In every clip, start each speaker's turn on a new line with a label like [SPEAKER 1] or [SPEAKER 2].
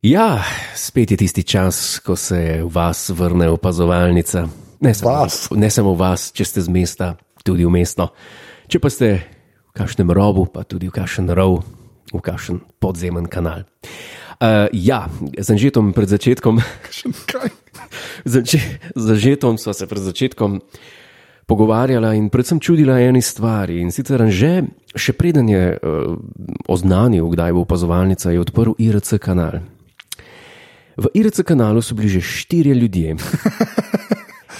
[SPEAKER 1] Ja, spet je tisti čas, ko se v vas vrne opazovalnica. Ne samo,
[SPEAKER 2] Vas?
[SPEAKER 1] ne samo v vas, če ste z mesta, tudi v mesto. Če pa ste v kažem robu, pa tudi v kažem rov, v kažem podzemen kanal. Uh, ja, z Anžetom pred začetkom,
[SPEAKER 2] Kaj?
[SPEAKER 1] z Anže- z Anžetom sva se pred začetkom pogovarjala in predvsem čudila eni stvari. In sicer Anže, še preden je uh, oznanil, kdaj bo opazovalnica, je odprl IRC kanal. V IRC kanalu so bili že štirje ljudje.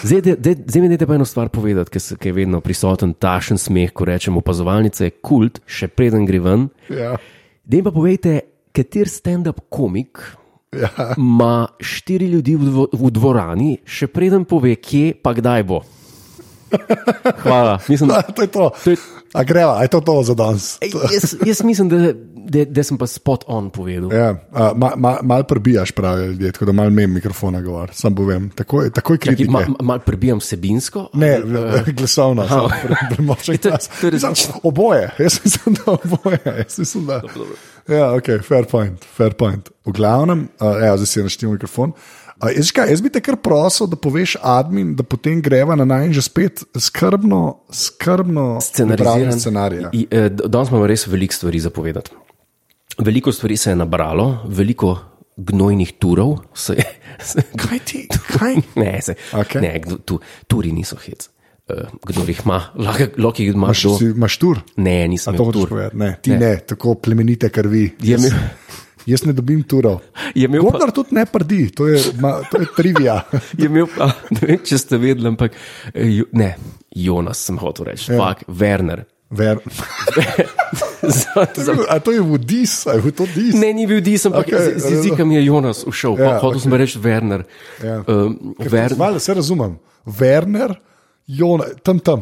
[SPEAKER 1] Zdaj, de- de- zdaj mi dajte pa eno stvar povedati, ker se- ker je vedno prisoten tašen smeh, ko rečemo opazovalnica je kult, še preden gre ven.
[SPEAKER 2] Ja,
[SPEAKER 1] Dej pa povejte, kater stand-up komik
[SPEAKER 2] ja.
[SPEAKER 1] ima štiri ljudi v, dvo, v dvorani, še preden pove, kje pa kdaj bo. Hvala. Mislim,
[SPEAKER 2] A, No, to je to.
[SPEAKER 1] To je-
[SPEAKER 2] A greva, a je to to za danes?
[SPEAKER 1] Ej, jaz, jaz mislim, da, da, da sem pa spot on povedal.
[SPEAKER 2] Ja, a, ma, ma, mal prebijaš, pravijo ljudje, tako da mal mem mikrofona govor, sam povem. Takoj, takoj
[SPEAKER 1] Ki-
[SPEAKER 2] kritike.
[SPEAKER 1] ma- ma- Malo prebijam vsebinsko.
[SPEAKER 2] Ne, glasovno, samo pre-
[SPEAKER 1] To
[SPEAKER 2] premočen
[SPEAKER 1] je-
[SPEAKER 2] glas.
[SPEAKER 1] to je
[SPEAKER 2] Mislim,
[SPEAKER 1] različno.
[SPEAKER 2] Oboje, jaz mislim, da oboje. Jaz mislim, da... Ja, ok, fair point, fair point. V glavnem, uh, evo, zdaj si naštel mikrofon. Uh, jaz, veš kaj, jaz bi te kar prosil, da poveš admin, da potem greva na najmanj že spet skrbno, skrbno
[SPEAKER 1] Scenariziran
[SPEAKER 2] scenarij. ja.
[SPEAKER 1] I- eh, d- Danes imamo res veliko stvari zapovedati. Veliko stvari se je nabralo, veliko gnojnih turov. Se, je- se,
[SPEAKER 2] Kaj ti? Kaj?
[SPEAKER 1] ne, se,
[SPEAKER 2] Okej.
[SPEAKER 1] okay. ne kdo- tu, turi niso hec. Eh, Kdo jih ima, lahko lahko jih ima
[SPEAKER 2] Še
[SPEAKER 1] kdo.
[SPEAKER 2] si imaš tur?
[SPEAKER 1] Ne, nisem
[SPEAKER 2] To
[SPEAKER 1] imel
[SPEAKER 2] hočeš
[SPEAKER 1] tur.
[SPEAKER 2] povedati. Ne, ti ne. ne, tako plemenite krvi.
[SPEAKER 1] Je
[SPEAKER 2] Jaz,
[SPEAKER 1] imel-
[SPEAKER 2] jaz ne dobim turov.
[SPEAKER 1] Je imel pa-
[SPEAKER 2] Gondar tudi ne prdi, to je, ma, to je trivija.
[SPEAKER 1] Je imel pa, ne vem, če ste vedeli, ampak eh, ju, ne, Jonas sem hotel reči,
[SPEAKER 2] Ja.
[SPEAKER 1] ampak Werner.
[SPEAKER 2] Ver,
[SPEAKER 1] za, za,
[SPEAKER 2] a to je vodis, a je to dis.
[SPEAKER 1] ne, ni bil disem, ampak
[SPEAKER 2] Okej,
[SPEAKER 1] okay, z, z jezika mi je Jonas ušel,
[SPEAKER 2] Ja,
[SPEAKER 1] ja, hotel okay. sem reči Werner.
[SPEAKER 2] Ja.
[SPEAKER 1] Um, Ver,
[SPEAKER 2] Malo se razumem. Werner, Jona, tam tam,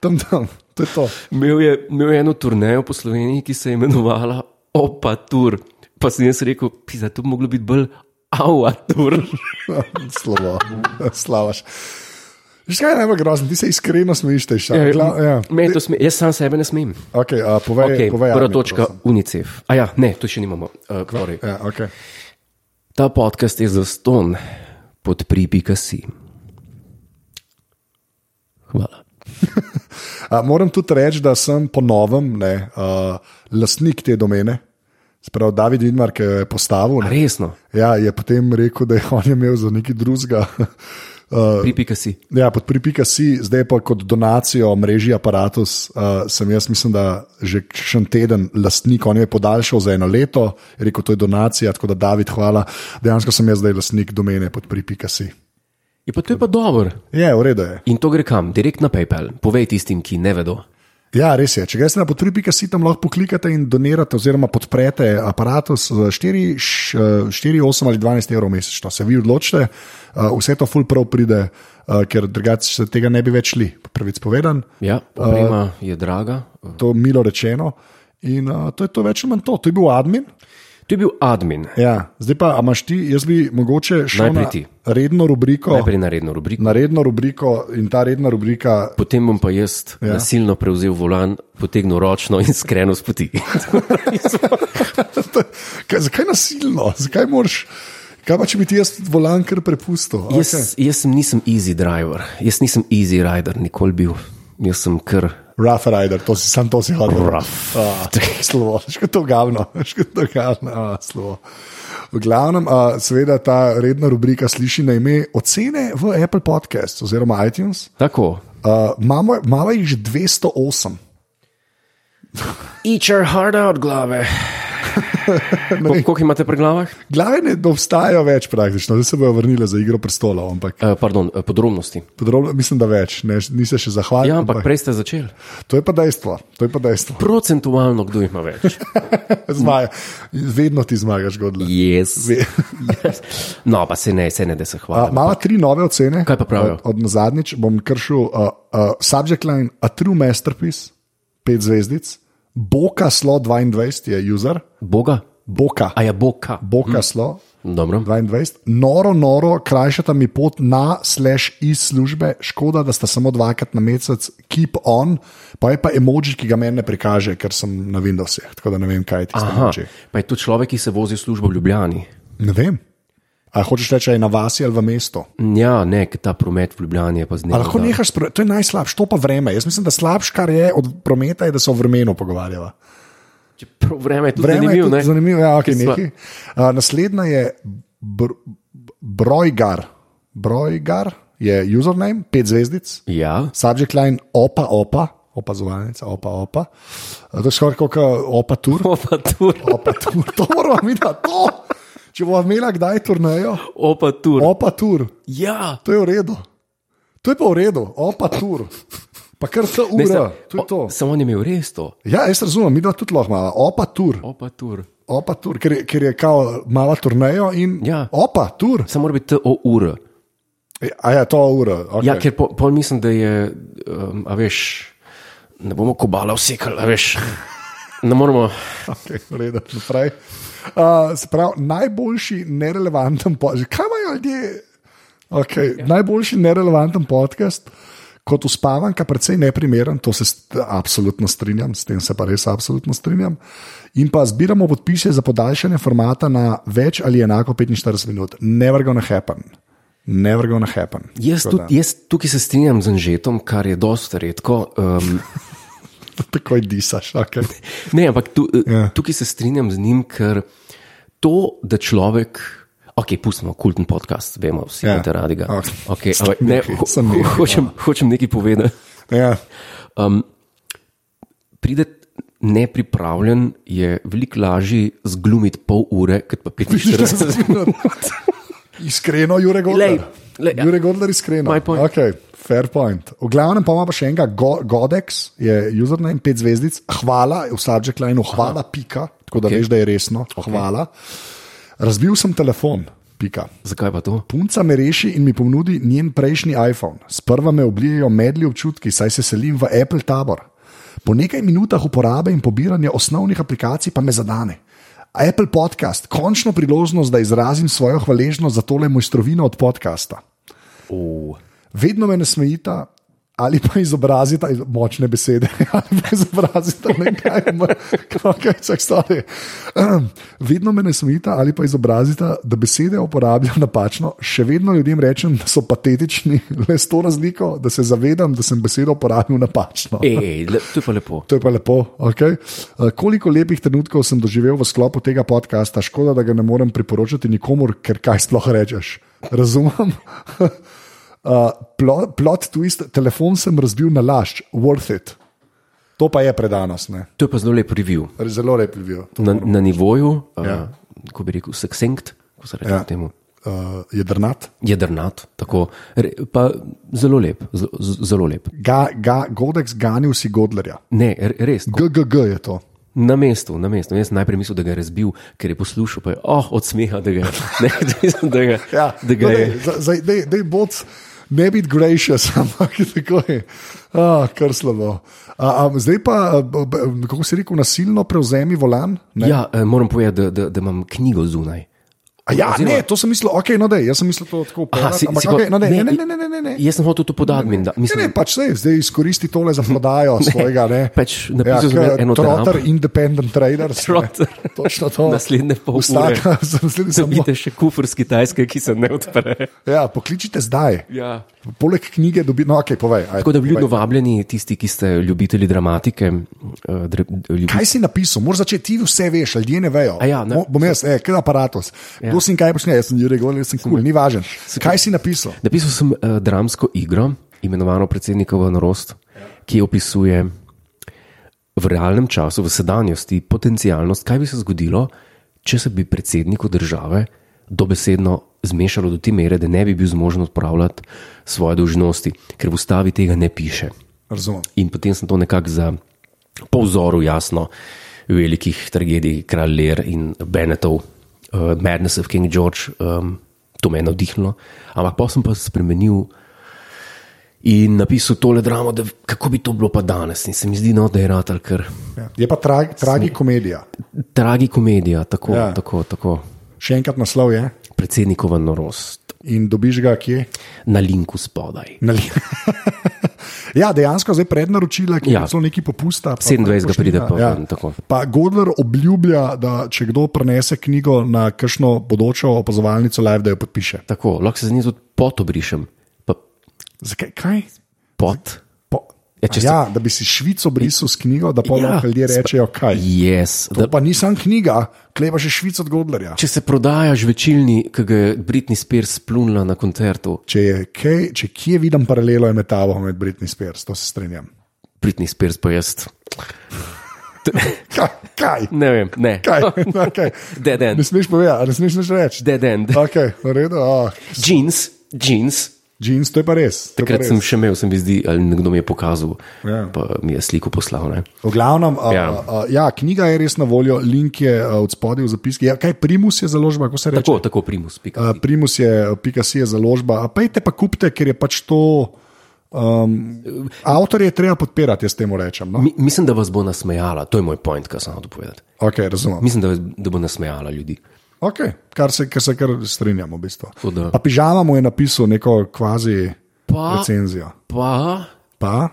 [SPEAKER 2] tam tam, to je to.
[SPEAKER 1] imel, je, imel je eno turnejo po Sloveniji, ki se je imenovala Opatur. Pa sem jaz rekel, pisa, to bi moglo biti bolj avatur.
[SPEAKER 2] Slabo, slavaš. Že kaj je najbolj grozno, ti se iskreno smejiš, te še. Ja.
[SPEAKER 1] Meni to sme, jaz sam sebe ne smem.
[SPEAKER 2] Okay, a, povej,
[SPEAKER 1] Okay,
[SPEAKER 2] povej,
[SPEAKER 1] prva
[SPEAKER 2] Armin,
[SPEAKER 1] točka,
[SPEAKER 2] prosim.
[SPEAKER 1] UNICEF. A ja, ne, to še nimamo. Uh, torej.
[SPEAKER 2] Ja, okay.
[SPEAKER 1] Ta podcast je zaston pod pri.si. Hvala.
[SPEAKER 2] A, moram tudi reči, da sem ponovem ne, a, lastnik te domene. Sprav David Vidmar, ki jo je postavil, ne,
[SPEAKER 1] Resno,
[SPEAKER 2] ja, je potem rekel, da je on imel za neki drugega. Uh,
[SPEAKER 1] pri.si.
[SPEAKER 2] ja, pod pripika si, zdaj pa kot donacijo mreži aparatus, uh, sem jaz, mislim, da že še en teden lastnik, on jo je podaljšal za eno leto, je rekel, to je donacija, tako da David, hvala. Dejansko sem jaz zdaj lastnik domene pod pripika si.
[SPEAKER 1] Je pa to je pa dobro.
[SPEAKER 2] Je, v redu je.
[SPEAKER 1] In to gre kam? Direkt na PayPal. Povej tistim, ki ne vedo.
[SPEAKER 2] Ja, res je. Če greš na podpri.si, tam lahko poklikate in donirate, oziroma podprete aparatus za 4, š- eh, 4 8 ali 12 evrov mesečno. Se vi odločite, eh, vse to full prav pride, eh, ker drugače se tega ne bi več li, pravic povedan.
[SPEAKER 1] Ja, oprema uh, je draga.
[SPEAKER 2] To je milo rečeno. In uh, to je to več ali manj to. To je bil admin.
[SPEAKER 1] To je bil admin,
[SPEAKER 2] Ja. Zdaj pa, a imaš ti, jaz bi mogoče šel
[SPEAKER 1] Najprej
[SPEAKER 2] na
[SPEAKER 1] ti.
[SPEAKER 2] redno rubriko.
[SPEAKER 1] najprej na redno rubriko.
[SPEAKER 2] Na redno rubriko in ta redna rubrika
[SPEAKER 1] Potem bom pa jaz ja. nasilno prevzel volan, potegnil ročno in skrenil s poti.
[SPEAKER 2] Kaj, zakaj nasilno, zakaj moraš? Kaj pa če bi ti jaz volan kar prepustil? Okay.
[SPEAKER 1] jaz, jaz sem- nisem easy driver, jaz nisem easy rider, nikoli bil. Jaz sem kr.
[SPEAKER 2] Rough rider, to si sam to si hodil.
[SPEAKER 1] Rough.
[SPEAKER 2] Ah, Slovo, še to gavno, še to gavno, ah, slovo. V glavnem, a, seveda ta redna rubrika sliši na ime ocene v Apple Podcast oziroma iTunes.
[SPEAKER 1] Tako.
[SPEAKER 2] Uh, Mama jih že 208.
[SPEAKER 1] Eat your heart out, glave. Kol- Koliko imate pri glavah?
[SPEAKER 2] Glave ne obstajajo več praktično, zdaj se bojo vrnile za igro prestolov, ampak
[SPEAKER 1] Uh, pardon, eh, podrobnosti.
[SPEAKER 2] podrobno mislim, da več, ne, nisi še zahvalil.
[SPEAKER 1] Ja, ampak prej ste začeli.
[SPEAKER 2] To je pa dejstvo, to je pa dejstvo.
[SPEAKER 1] Procentualno, kdo ima več?
[SPEAKER 2] Zmaja. Vedno ti zmagaš, godle.
[SPEAKER 1] Jaz. Yes. No, pa se ne, se ne, da se hvala.
[SPEAKER 2] Mala tri nove ocene.
[SPEAKER 1] Kaj pa pravijo?
[SPEAKER 2] Od, od zadnjič bom kršil uh, uh, subject line, a true masterpiece, pet zvezdic, Boka slo 22 je user,
[SPEAKER 1] Boga?
[SPEAKER 2] Boka,
[SPEAKER 1] A ja, Boga.
[SPEAKER 2] Boka slo
[SPEAKER 1] Dobro.
[SPEAKER 2] 22, noro, noro, krajšata mi pot na slash iz službe, škoda, da sta samo dvakrat na mesec, keep on, pa je pa emoji, ki ga meni ne prikaže, ker sem na Windowsih, tako da ne vem, kaj je tisto
[SPEAKER 1] Aha,
[SPEAKER 2] emoji.
[SPEAKER 1] pa je to človek, ki se vozi v službo v Ljubljani.
[SPEAKER 2] Ne vem. A hočeš reči, da je na vasi ali v mestu?
[SPEAKER 1] Ja, ne, ker ta promet v Ljubljani je pa zelo.
[SPEAKER 2] A lahko nehaš, spro- to je najslabše, to pa vreme. Jaz mislim, da slabš, kar je od prometa, je, da se o vremenu pogovarjava.
[SPEAKER 1] Čeprav vreme je tudi
[SPEAKER 2] Vreme
[SPEAKER 1] zanimivo. ne.
[SPEAKER 2] je tudi zanimivo, ja, okay,
[SPEAKER 1] Ker sva-
[SPEAKER 2] nekaj. Uh, naslednja je br Brojgar. Brojgar je username, pet zvezdic.
[SPEAKER 1] Ja,
[SPEAKER 2] Subject line opa, opa, opazovalnica, opa, opa. Eh, To je skoraj kot opa tur.
[SPEAKER 1] opatur.
[SPEAKER 2] Opa tur, to moramo videti, to. Če bomo imeli kdaj turnejo,
[SPEAKER 1] Opatur.
[SPEAKER 2] opa tur,
[SPEAKER 1] Ja.
[SPEAKER 2] to je v redu. To je pa v redu, opa tur. Pa kar se
[SPEAKER 1] Ne,
[SPEAKER 2] ura,
[SPEAKER 1] sa-
[SPEAKER 2] to je to.
[SPEAKER 1] o- Samo on je imel res to.
[SPEAKER 2] Ja, jaz razumem, mi dva tudi lahko imamo, opa tur,
[SPEAKER 1] Opatur.
[SPEAKER 2] opa tur, ker, je- ker je kao mala turnejo in
[SPEAKER 1] Ja.
[SPEAKER 2] opa tur.
[SPEAKER 1] Samo mora biti o ur.
[SPEAKER 2] A ja, to je ura. Okay.
[SPEAKER 1] Ja, ker po, pol mislim, da je, um, a veš, ne bomo kobala vsekali, a veš. Ne moramo.
[SPEAKER 2] Okay, reda, naprej. Uh, se pravi, najboljši nerelevanten podcast. Kaj imajo ljudje? Okay, ja. Najboljši nerelevanten podcast. Kot uspavanka, precej neprimeren, to se st- absolutno strinjam, s tem se pa res absolutno strinjam. In pa zbiramo podpise za podaljšanje formata na več ali enako 45 minut. Never gonna happen. Never gonna happen.
[SPEAKER 1] Jaz,
[SPEAKER 2] Tako
[SPEAKER 1] tudi, jaz tukaj se strinjam z Anžetom, kar je dosta redko. Um,
[SPEAKER 2] da- Takoj disaš. Okay.
[SPEAKER 1] ne, ampak tu,
[SPEAKER 2] Ja.
[SPEAKER 1] ja. tukaj se strinjam z njim, ker to, da človek. Ok, pustimo kulten podcast, vemo, vsi
[SPEAKER 2] Ja.
[SPEAKER 1] imate radi ga.
[SPEAKER 2] Ok.
[SPEAKER 1] Okay, ampak ne,
[SPEAKER 2] Sem
[SPEAKER 1] ho,
[SPEAKER 2] nehal,
[SPEAKER 1] ho, hočem, hočem nekaj povedati.
[SPEAKER 2] Ja.
[SPEAKER 1] Pride nepripravljen, je veliko lažje zglumiti pol ure, kot pa 45 minut.
[SPEAKER 2] Iskreno, Jure Godler.
[SPEAKER 1] Lej, lej, ja.
[SPEAKER 2] Jure Godler, iskreno.
[SPEAKER 1] My point.
[SPEAKER 2] Okay, fair point. V glavnem pa ima pa še enega, Go Godex je username, pet zvezdic, hvala, v subject lineu, hvala, Aha. pika, tako da okay.
[SPEAKER 1] Okay.
[SPEAKER 2] veš, da je resno. Hvala. Razbil sem telefon, pika.
[SPEAKER 1] Zakaj pa to?
[SPEAKER 2] Punca me reši in mi ponudi njen prejšnji iPhone. Sprva me oblijajo medli občutki, saj se selim v Apple tabor. Po nekaj minutah uporabe in pobiranja osnovnih aplikacij pa me zadane. Apple podcast, končno priložnost, da izrazim svojo hvaležnost za tole mojstrovino od podcasta.
[SPEAKER 1] Oh.
[SPEAKER 2] Vedno me nasmejita ali pa izobrazita, močne besede, ali pa izobrazita nekaj, kaj se stvari. Vedno me nasmejita ali pa izobrazita, da besede uporabljam napačno. Še vedno ljudem rečem, da so patetični, le s to razliko, da se zavedam, da sem besedo uporabil napačno.
[SPEAKER 1] Ej, E, le, to je pa lepo.
[SPEAKER 2] To je pa lepo. Okay. Eh, Koliko lepih trenutkov sem doživel v sklopu tega podcasta, škoda, da ga ne morem priporočati nikomur, ker kaj sploh rečeš. Razumem. Uh, plot, plot twist, telefon sem razbil na laž, worth it. To pa je predanost, ne?
[SPEAKER 1] To je pa zelo lep review.
[SPEAKER 2] zelo lep bil.
[SPEAKER 1] Na, na nivoju, ja. uh, ko bi rekel, seksenkt, ko se reče
[SPEAKER 2] Ja.
[SPEAKER 1] ja. temu.
[SPEAKER 2] Uh, jedrnat.
[SPEAKER 1] Jedrnat, tako, re, pa zelo lep, z- z- zelo lep.
[SPEAKER 2] Ga, ga, Godex ganil si Godlerja.
[SPEAKER 1] Ne, r- res, ko-
[SPEAKER 2] GGG je to.
[SPEAKER 1] na mestu, na mestu. Jaz sem najprej mislil, da ga je razbil, ker je poslušal, pa je oh, od smeha, da ga, ne, da ga,
[SPEAKER 2] Ja,
[SPEAKER 1] da ga
[SPEAKER 2] no,
[SPEAKER 1] je.
[SPEAKER 2] daj, za- zdaj, daj, daj bod, ne biti gracious, ampak tako je. Ah, kar slabo. A, a, zdaj pa, a, b- b- kako si rekel, nasilno prevzemi volan. Ne?
[SPEAKER 1] Ja, eh, moram povedati, da, da, da imam knjigo zunaj.
[SPEAKER 2] A ja,
[SPEAKER 1] oziroma-
[SPEAKER 2] ne, to sem mislil, ok, no, dej, jaz sem mislil to tako.
[SPEAKER 1] Aha,
[SPEAKER 2] Aha,
[SPEAKER 1] si-
[SPEAKER 2] si, ampak,
[SPEAKER 1] si
[SPEAKER 2] si
[SPEAKER 1] pa-
[SPEAKER 2] okay, no, dej,
[SPEAKER 1] ne,
[SPEAKER 2] ne, ne, ne, ne, ne, ne, ne.
[SPEAKER 1] Jaz sem hotel to podati, mi da mislim,
[SPEAKER 2] Ne, ne, pač sej, zdaj izkoristi tole za prodajo svojega. Ne.
[SPEAKER 1] Pač napisal sem
[SPEAKER 2] kot
[SPEAKER 1] eno
[SPEAKER 2] Trotter,
[SPEAKER 1] drambo.
[SPEAKER 2] independent trader.
[SPEAKER 1] Trotter.
[SPEAKER 2] Točno to.
[SPEAKER 1] Naslednje pol ure.
[SPEAKER 2] Vsaka, naslednji
[SPEAKER 1] da
[SPEAKER 2] samo.
[SPEAKER 1] vidite še kufr z Kitajske, ki se ne odpre.
[SPEAKER 2] Ja, pokličite zdaj.
[SPEAKER 1] Ja.
[SPEAKER 2] Poleg knjige dobi, no, ok, povej. ajde,
[SPEAKER 1] Tako da
[SPEAKER 2] povej.
[SPEAKER 1] vljudno vabljeni tisti, ki ste ljubitelji dramatike. eh, dre- ljubi-
[SPEAKER 2] Kaj si napisal, moraš začeti, ti vse veš, ljudje ne vejo.
[SPEAKER 1] A ja, ne.
[SPEAKER 2] Mo- Bom jaz, eh, kaj je aparatus. Ja. Kdo si in kaj počne, jaz sem Jurek, jaz sem kul, cool, ni važen. Kaj si napisal?
[SPEAKER 1] Napisal sem uh, dramsko igro, imenovano Predsednikova norost, ki opisuje v realnem času, v sedanjosti, potencialnost, kaj bi se zgodilo, če se bi predsedniku države dobesedno zmešalo do te mere, da ne bi bil zmožen odpravljati svoje dolžnosti, ker v ustavi tega ne piše.
[SPEAKER 2] Razumem.
[SPEAKER 1] In potem sem to nekako za po vzoru, jasno, velikih tragedij, kralj Lear in Benetov, uh, Madness of King George, um, to me je navdihnilo. Ampak pa sem pa spremenil in napisal tole dramo, da kako bi to bilo pa danes. In se mi zdi, no, da je ratal, ker
[SPEAKER 2] Ja. Je pa tra, tragikomedija.
[SPEAKER 1] tragikomedija, tako,
[SPEAKER 2] Ja.
[SPEAKER 1] ja. tako, tako,
[SPEAKER 2] Še enkrat naslov je
[SPEAKER 1] predsednikova norost.
[SPEAKER 2] in dobiš ga kje?
[SPEAKER 1] Na linku spodaj.
[SPEAKER 2] Na li- Ja, dejansko zdaj prednaročila, ki
[SPEAKER 1] Ja.
[SPEAKER 2] ja. so neki popusta. pa
[SPEAKER 1] 27.
[SPEAKER 2] tako
[SPEAKER 1] pride
[SPEAKER 2] pošlina,
[SPEAKER 1] pa,
[SPEAKER 2] ja.
[SPEAKER 1] tako.
[SPEAKER 2] Pa Godler obljublja, da če kdo prenese knjigo na kakšno bodočo opazovalnico live, da jo podpiše.
[SPEAKER 1] Tako, lahko se z njim tudi pot obrišem. Pa
[SPEAKER 2] Zakaj? Kaj?
[SPEAKER 1] pot.
[SPEAKER 2] Po,
[SPEAKER 1] Ja,
[SPEAKER 2] ja,
[SPEAKER 1] če se-
[SPEAKER 2] ja, da bi si Švico brisal s knjigo, da pa
[SPEAKER 1] Ja,
[SPEAKER 2] ja, ljudje
[SPEAKER 1] sp-
[SPEAKER 2] rečejo kaj.
[SPEAKER 1] Yes, da,
[SPEAKER 2] To pa ni samo knjiga, kleba še Švico od Godlerja.
[SPEAKER 1] če se prodajaš večilni, ki ga je Britney Spears splunila na koncertu,
[SPEAKER 2] Če, je kaj, če kje vidim paralelo, je med tabo in Britney Spears, to se strinjam.
[SPEAKER 1] Britney Spears pa jaz.
[SPEAKER 2] Kaj? kaj?
[SPEAKER 1] Ne vem, ne.
[SPEAKER 2] Kaj? Okay.
[SPEAKER 1] Dead end.
[SPEAKER 2] Ne smeš povedati, a ne smeš nič reči.
[SPEAKER 1] Dead end.
[SPEAKER 2] Okay, v redu, oh.
[SPEAKER 1] Jeans, jeans.
[SPEAKER 2] Jeans, to je pa res. to je pa
[SPEAKER 1] Takrat
[SPEAKER 2] res.
[SPEAKER 1] sem še imel, se mi zdi, ali nekdo mi je pokazal,
[SPEAKER 2] Ja.
[SPEAKER 1] pa mi je sliko poslal. Ne?
[SPEAKER 2] V glavnem, a,
[SPEAKER 1] Ja.
[SPEAKER 2] ja. A, ja, knjiga je res na voljo, link je a, od spodaj v zapiski. Ja, kaj primus je založba, kako se reče?
[SPEAKER 1] Tako, tako primus. pika.
[SPEAKER 2] Pač- A, Eh, primus je, pika si je založba. A pejte pa kupite, ker je pač to. Um, Avtorje je treba podpirati, jaz temu rečem. No?
[SPEAKER 1] Mi, mislim, da vas bo nasmejala, to je moj point, kar sem hotel povedati.
[SPEAKER 2] Okay, razumem.
[SPEAKER 1] Mislim, da, vas- da bo nasmejala ljudi.
[SPEAKER 2] Okay, kar, se, kar se kar strinjamo. V bistvu.
[SPEAKER 1] To da.
[SPEAKER 2] Pa pižama mu je napisal neko kvazi
[SPEAKER 1] Pa-
[SPEAKER 2] recenzijo.
[SPEAKER 1] Pa
[SPEAKER 2] Pa?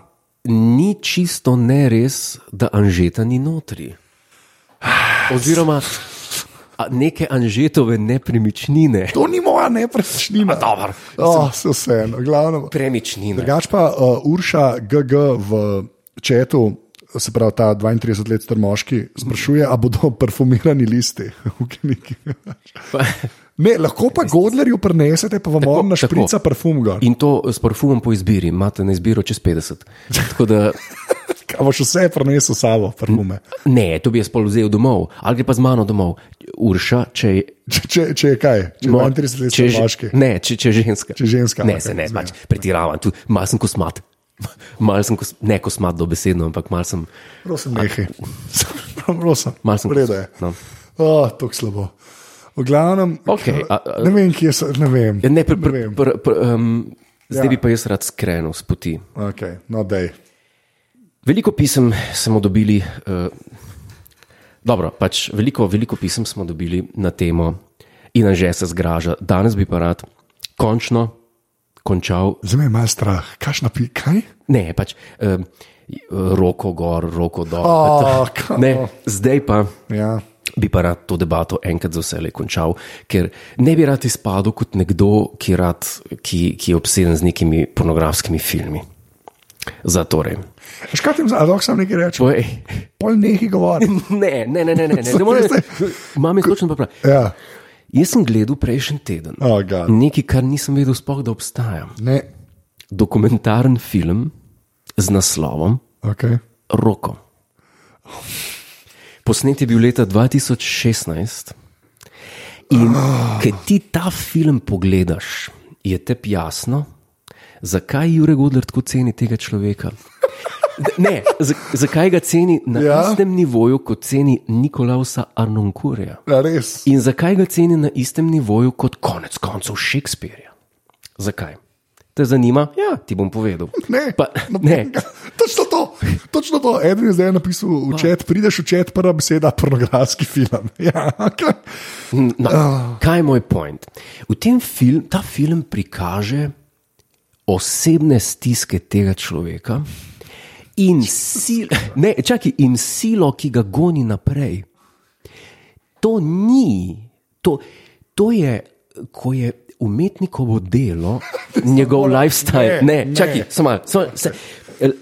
[SPEAKER 1] ni čisto ne res, da anžeta ni notri. Oziroma, a, neke anžetove nepremičnine.
[SPEAKER 2] To ni moja nepremičnina.
[SPEAKER 1] dobro.
[SPEAKER 2] Oh, vseeno, glavno.
[SPEAKER 1] Premičnine.
[SPEAKER 2] Drugač pa uh, Urša GG v četu, se pravi ta 32-let star moški, sprašuje, ali bodo perfumirani listi v knjigi. Ne, lahko pa Godlerju prenesete, pa vam on
[SPEAKER 1] tako.
[SPEAKER 2] našprica parfum gor.
[SPEAKER 1] In to s parfumom po izbiri, imate na izbiro čez 50. Tako da
[SPEAKER 2] A boš vse prenesel s sabo, parfume.
[SPEAKER 1] ne, to bi jaz pol vzel domov, ali gre pa z mano domov. Urša, če je.
[SPEAKER 2] Če, če, če je kaj, če je
[SPEAKER 1] mo-
[SPEAKER 2] 32-let
[SPEAKER 1] če je
[SPEAKER 2] star
[SPEAKER 1] že-
[SPEAKER 2] moški.
[SPEAKER 1] Ne, če, če je ženska.
[SPEAKER 2] Če je ženska,
[SPEAKER 1] Ne,
[SPEAKER 2] okej,
[SPEAKER 1] se ne,
[SPEAKER 2] razumem.
[SPEAKER 1] pač pretiravam, tu mal sem kosmat. Mal sem kos, ne kosmat dobesedno, ampak mal sem.
[SPEAKER 2] Prosim, nehaj. Prosim,
[SPEAKER 1] Malo sem
[SPEAKER 2] v redu je.
[SPEAKER 1] no.
[SPEAKER 2] Oh, tako slabo. V glavnem,
[SPEAKER 1] Okej, a- a-
[SPEAKER 2] ne vem, kje so. Ne vem.
[SPEAKER 1] Ja, Ne, pr, pr,
[SPEAKER 2] vem.
[SPEAKER 1] pr, pr, um, zdaj
[SPEAKER 2] Ja.
[SPEAKER 1] bi pa jaz rad skrenil s poti.
[SPEAKER 2] Okay, no, dej.
[SPEAKER 1] Veliko pisem smo dobili, uh, dobro, pač veliko, veliko pisem smo dobili na temo in anže se zgraža. Danes bi pa rad končno končal,
[SPEAKER 2] Zdaj me je malo strah, kaš napi, kaj?
[SPEAKER 1] ne pač uh, roko gor, roko dol.
[SPEAKER 2] Oh,
[SPEAKER 1] ne, zdaj pa
[SPEAKER 2] Ja.
[SPEAKER 1] bi pa rad to debato enkrat za vse končal, ker ne bi rad izpadel kot nekdo, ki, rad, ki, ki je obseden z nekimi pornografskimi filmi. torej. Zatorej,
[SPEAKER 2] Škaj ti, a dok sem nekaj reče,
[SPEAKER 1] povej.
[SPEAKER 2] pol nehi govori.
[SPEAKER 1] Ne, ne, ne, ne, ne, ne, ne morem. Imam jaz točno pa prav.
[SPEAKER 2] Ja.
[SPEAKER 1] Jaz sem gledal prejšnji teden
[SPEAKER 2] Oh, God.
[SPEAKER 1] nekaj, kar nisem vedel, spoh, da obstaja.
[SPEAKER 2] ne,
[SPEAKER 1] Dokumentaren film z naslovom
[SPEAKER 2] okay.
[SPEAKER 1] Roko. Posnet je bil leta 2016. In ko ti ta film pogledaš, je te jasno, zakaj Jurek Godler tako ceni tega človeka. D- Ne, za- zakaj ga ceni na ja.
[SPEAKER 2] Ja.
[SPEAKER 1] istem nivoju, kot ceni Nikolausa Arnonkurja.
[SPEAKER 2] Ja, res.
[SPEAKER 1] In zakaj ga ceni na istem nivoju kot konec koncev Šekspirja? Zakaj? Te zanima? Ja, ti bom povedal.
[SPEAKER 2] Ne,
[SPEAKER 1] pa, ne.
[SPEAKER 2] nobenega. Točno to, točno to. Edwin je zdaj napisal v čet, prideš v čet, prva beseda, pornografski film. Ja, okay.
[SPEAKER 1] No, kaj je moj point? V tem filmu ta film prikaže osebne stiske tega človeka in, sil, ne, čaki, in silo, ki ga goni naprej. To ni, to, to je, ko je umetnikovo delo, njegov lifestyle. Ne,
[SPEAKER 2] ne, ne.
[SPEAKER 1] čakaj, samo, samo, se, eh,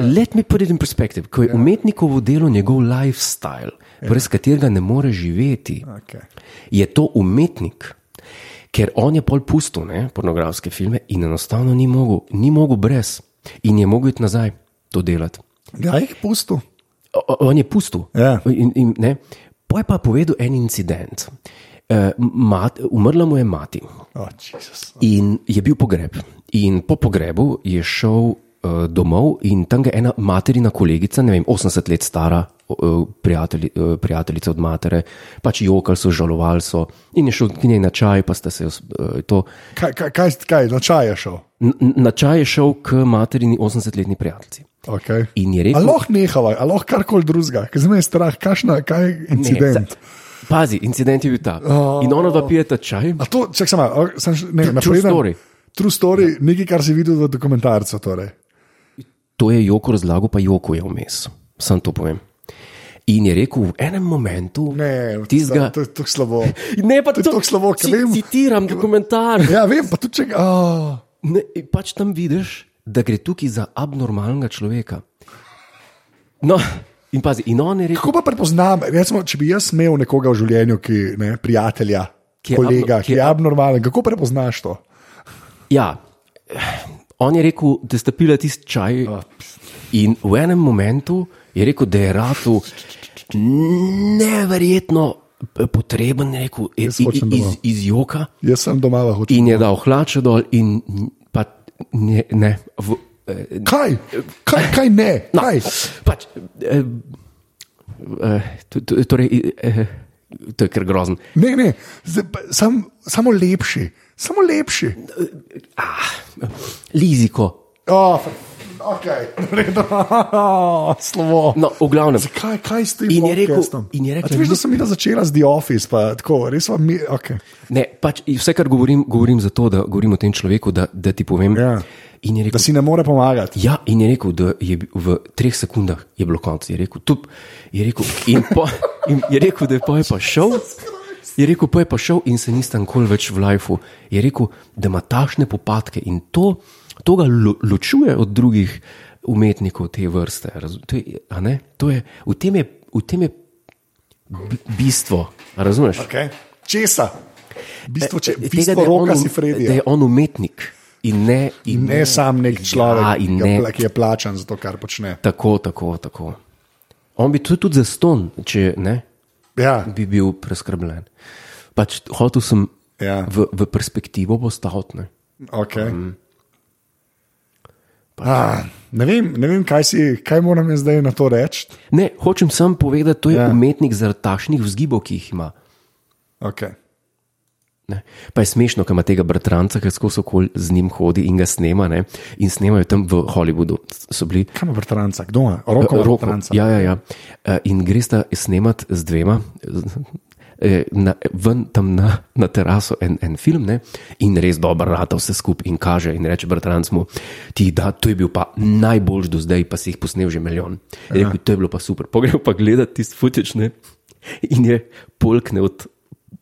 [SPEAKER 1] let me put it in perspective. Ko je umetnikovo delo njegov lifestyle, brez katerega ne more živeti
[SPEAKER 2] Okay.
[SPEAKER 1] je to umetnik. Ker on je pol pusto, ne, pornografske filme in enostavno ni mogel, ni mogel brez in je mogel iti nazaj to delati.
[SPEAKER 2] Ja, jih pustu.
[SPEAKER 1] O- o- On je pusto.
[SPEAKER 2] Ja.
[SPEAKER 1] In, in, ne. Poj pa je povedal en incident. Uh, mat, umrla mu je mati
[SPEAKER 2] Oh, Jezus.
[SPEAKER 1] in je bil pogreb. In po pogrebu je šel uh, domov in tam ga je ena materina kolegica, ne vem, 80 let stara, uh, prijatelji, uh, prijateljica od matere, pač jokali so, žalovali so in je šel k njej na čaj, pa sta se os- uh, to.
[SPEAKER 2] Kaj, kaj, kaj, kaj, na čaj je šel?
[SPEAKER 1] N- n- Na čaj je šel k materini 80-letni prijateljici.
[SPEAKER 2] Okay.
[SPEAKER 1] In je rekel-
[SPEAKER 2] Ali lahko nehava, ali lahko karkoli drugega, ker zdaj me je strah, kašna, kaj je incident.
[SPEAKER 1] Ne, sa- Pazi, incident je bil ta. In ona dva pijeta čaj.
[SPEAKER 2] A to, čak sama, sem, še- ne,
[SPEAKER 1] True
[SPEAKER 2] napredem.
[SPEAKER 1] story. Ja.
[SPEAKER 2] True story, nekaj, kar si videl v dokumentarcu. Torej.
[SPEAKER 1] to je Joko razlagal, pa Joko je vmes. Sam to povem. In je rekel v enem momentu,
[SPEAKER 2] Ne,
[SPEAKER 1] tistega-
[SPEAKER 2] to je tako slabo.
[SPEAKER 1] Ne, pa
[SPEAKER 2] To je tako slabo, ker
[SPEAKER 1] ci-
[SPEAKER 2] vem.
[SPEAKER 1] Citiram dokumentar.
[SPEAKER 2] Ja, vem, pa tudi če ga. Oh.
[SPEAKER 1] Ne, pač tam vidiš, da gre tukaj za abnormalnega človeka. No, in pazi, in on je rekel,
[SPEAKER 2] Kako pa prepoznam, recimo, če bi jaz imel nekoga v življenju, ki je prijatelja,
[SPEAKER 1] Ki
[SPEAKER 2] ki
[SPEAKER 1] je
[SPEAKER 2] je kolega,
[SPEAKER 1] abno- ki
[SPEAKER 2] ki
[SPEAKER 1] je
[SPEAKER 2] je abnormalen, kako prepoznaš to?
[SPEAKER 1] ja, on je rekel, da sta pila tisti čaj. In v enem momentu je rekel, da je ratu neverjetno potreben, je rekel, e, i-
[SPEAKER 2] Jaz hočem
[SPEAKER 1] i- iz,
[SPEAKER 2] domov.
[SPEAKER 1] iz joka.
[SPEAKER 2] Jaz sem doma, pa hočem.
[SPEAKER 1] In je dal hlače dol, in pa ne. ne v, eh,
[SPEAKER 2] Kaj? Kaj, kaj ne?
[SPEAKER 1] No,
[SPEAKER 2] Kaj?
[SPEAKER 1] pač, eh, eh, to- to- torej, eh, to je kar grozno.
[SPEAKER 2] Ne, ne, zdaj pa sam, samo lepši, samo lepši.
[SPEAKER 1] Ah, Liziko.
[SPEAKER 2] Oh, okay. Slovo.
[SPEAKER 1] No, v glavnem.
[SPEAKER 2] Zakaj, kaj s tem?
[SPEAKER 1] In je rekel-
[SPEAKER 2] podcastom?
[SPEAKER 1] in je rekel-
[SPEAKER 2] A ti veš, da sem jaz začela z The Office, pa tako, res vam je, okay.
[SPEAKER 1] Ne, pač, vse, kar govorim, govorim zato, da govorim o tem človeku, da, da ti povem.
[SPEAKER 2] Ja.
[SPEAKER 1] In je
[SPEAKER 2] da
[SPEAKER 1] rekel,
[SPEAKER 2] si ne more pomagati.
[SPEAKER 1] ja, in je rekel, da je bi- v treh sekundah je bilo konc. Je rekel, tup, je rekel, in, po, in je rekel, da je pa, je pa šel. Je rekel, pa je pa šel in se nisem nikoli več v lifeu. Je rekel, da ima tašne popadke in to, to ga lo, ločuje od drugih umetnikov te vrste. Razum, to je, a ne, to je, v tem je, v tem je b- bistvo. a Razumeš?
[SPEAKER 2] Okay. Česa? Bistvo, če,
[SPEAKER 1] E, Tega,
[SPEAKER 2] bistvo
[SPEAKER 1] da je
[SPEAKER 2] roka
[SPEAKER 1] on- um,
[SPEAKER 2] si Fredija.
[SPEAKER 1] Da je on umetnik in ne, in
[SPEAKER 2] Ne sam nek človek,
[SPEAKER 1] Ja,
[SPEAKER 2] ki,
[SPEAKER 1] in
[SPEAKER 2] ga
[SPEAKER 1] ne,
[SPEAKER 2] pla- ki je plačan za to, kar počne.
[SPEAKER 1] tako, tako, tako. On bi tudi, tudi za ston, če ne,
[SPEAKER 2] Ja,
[SPEAKER 1] bi bil preskrbljen. Pač hotel sem
[SPEAKER 2] Ja.
[SPEAKER 1] v, v perspektivo postaviti. ne.
[SPEAKER 2] okay.
[SPEAKER 1] Mhm. ja.
[SPEAKER 2] ah, ne, vem, ne vem, kaj, si, kaj moram jaz zdaj na to reči.
[SPEAKER 1] Ne, hočem samo povedati, to je ja.
[SPEAKER 2] Ja.
[SPEAKER 1] umetnik zaradi takšnih vzgibov, ki jih ima.
[SPEAKER 2] Okay.
[SPEAKER 1] Ne. Pa je smešno, ker ima tega bratranca, ki skozi okolje z njim hodi in ga snema. Ne? In snemajo tam v Hollywoodu. So bili
[SPEAKER 2] Kaj ima bratranca? Kdo ima? Roko ima
[SPEAKER 1] Roko,
[SPEAKER 2] bratranca.
[SPEAKER 1] ja, ja, ja. Eh, In greš ta snemat z dvema. z- eh, Na, ven tam na, na teraso en, en film ne? in res dobro rata vse skupaj in kaže in reče bratranc mu, ti da, to je bil pa najboljši do zdaj, pa si jih posnel že milijon. Je Rekel, to je bilo pa super. Pogledal pa gledati tisti futične in je polkne od,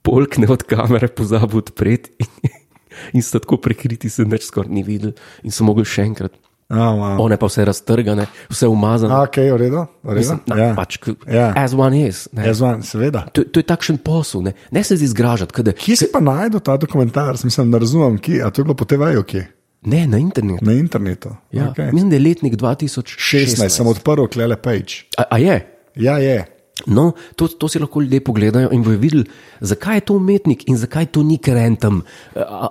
[SPEAKER 1] polkne od kamere pozabil odpreti in, in so tako prekriti, se neč skoraj ni videl in so mogli še enkrat.
[SPEAKER 2] Oh, wow.
[SPEAKER 1] One pa vse raztrgane, vse umazane.
[SPEAKER 2] Ok, v redu. v redu.
[SPEAKER 1] Mislim, na,
[SPEAKER 2] Ja.
[SPEAKER 1] ja. pač, ja.
[SPEAKER 2] Ja.
[SPEAKER 1] As one is. Ne.
[SPEAKER 2] Jaz vam, seveda.
[SPEAKER 1] To, to je takšen posel, ne, ne se zdaj zgražati. Kada,
[SPEAKER 2] Kje si pa najdel ta dokumentarc? Mislim, ne razumem, kje. A to je bilo po TV-ju, kje?
[SPEAKER 1] ne, na internetu.
[SPEAKER 2] Na internetu.
[SPEAKER 1] Ja. Okay.
[SPEAKER 2] Okay.
[SPEAKER 1] Mislim, da je letnik 2016.
[SPEAKER 2] 16, sem odprl, klele page.
[SPEAKER 1] A, a je?
[SPEAKER 2] Ja, je.
[SPEAKER 1] No, to, to si lahko ljudje pogledajo in bojo videli, zakaj je to umetnik in zakaj to ni krenten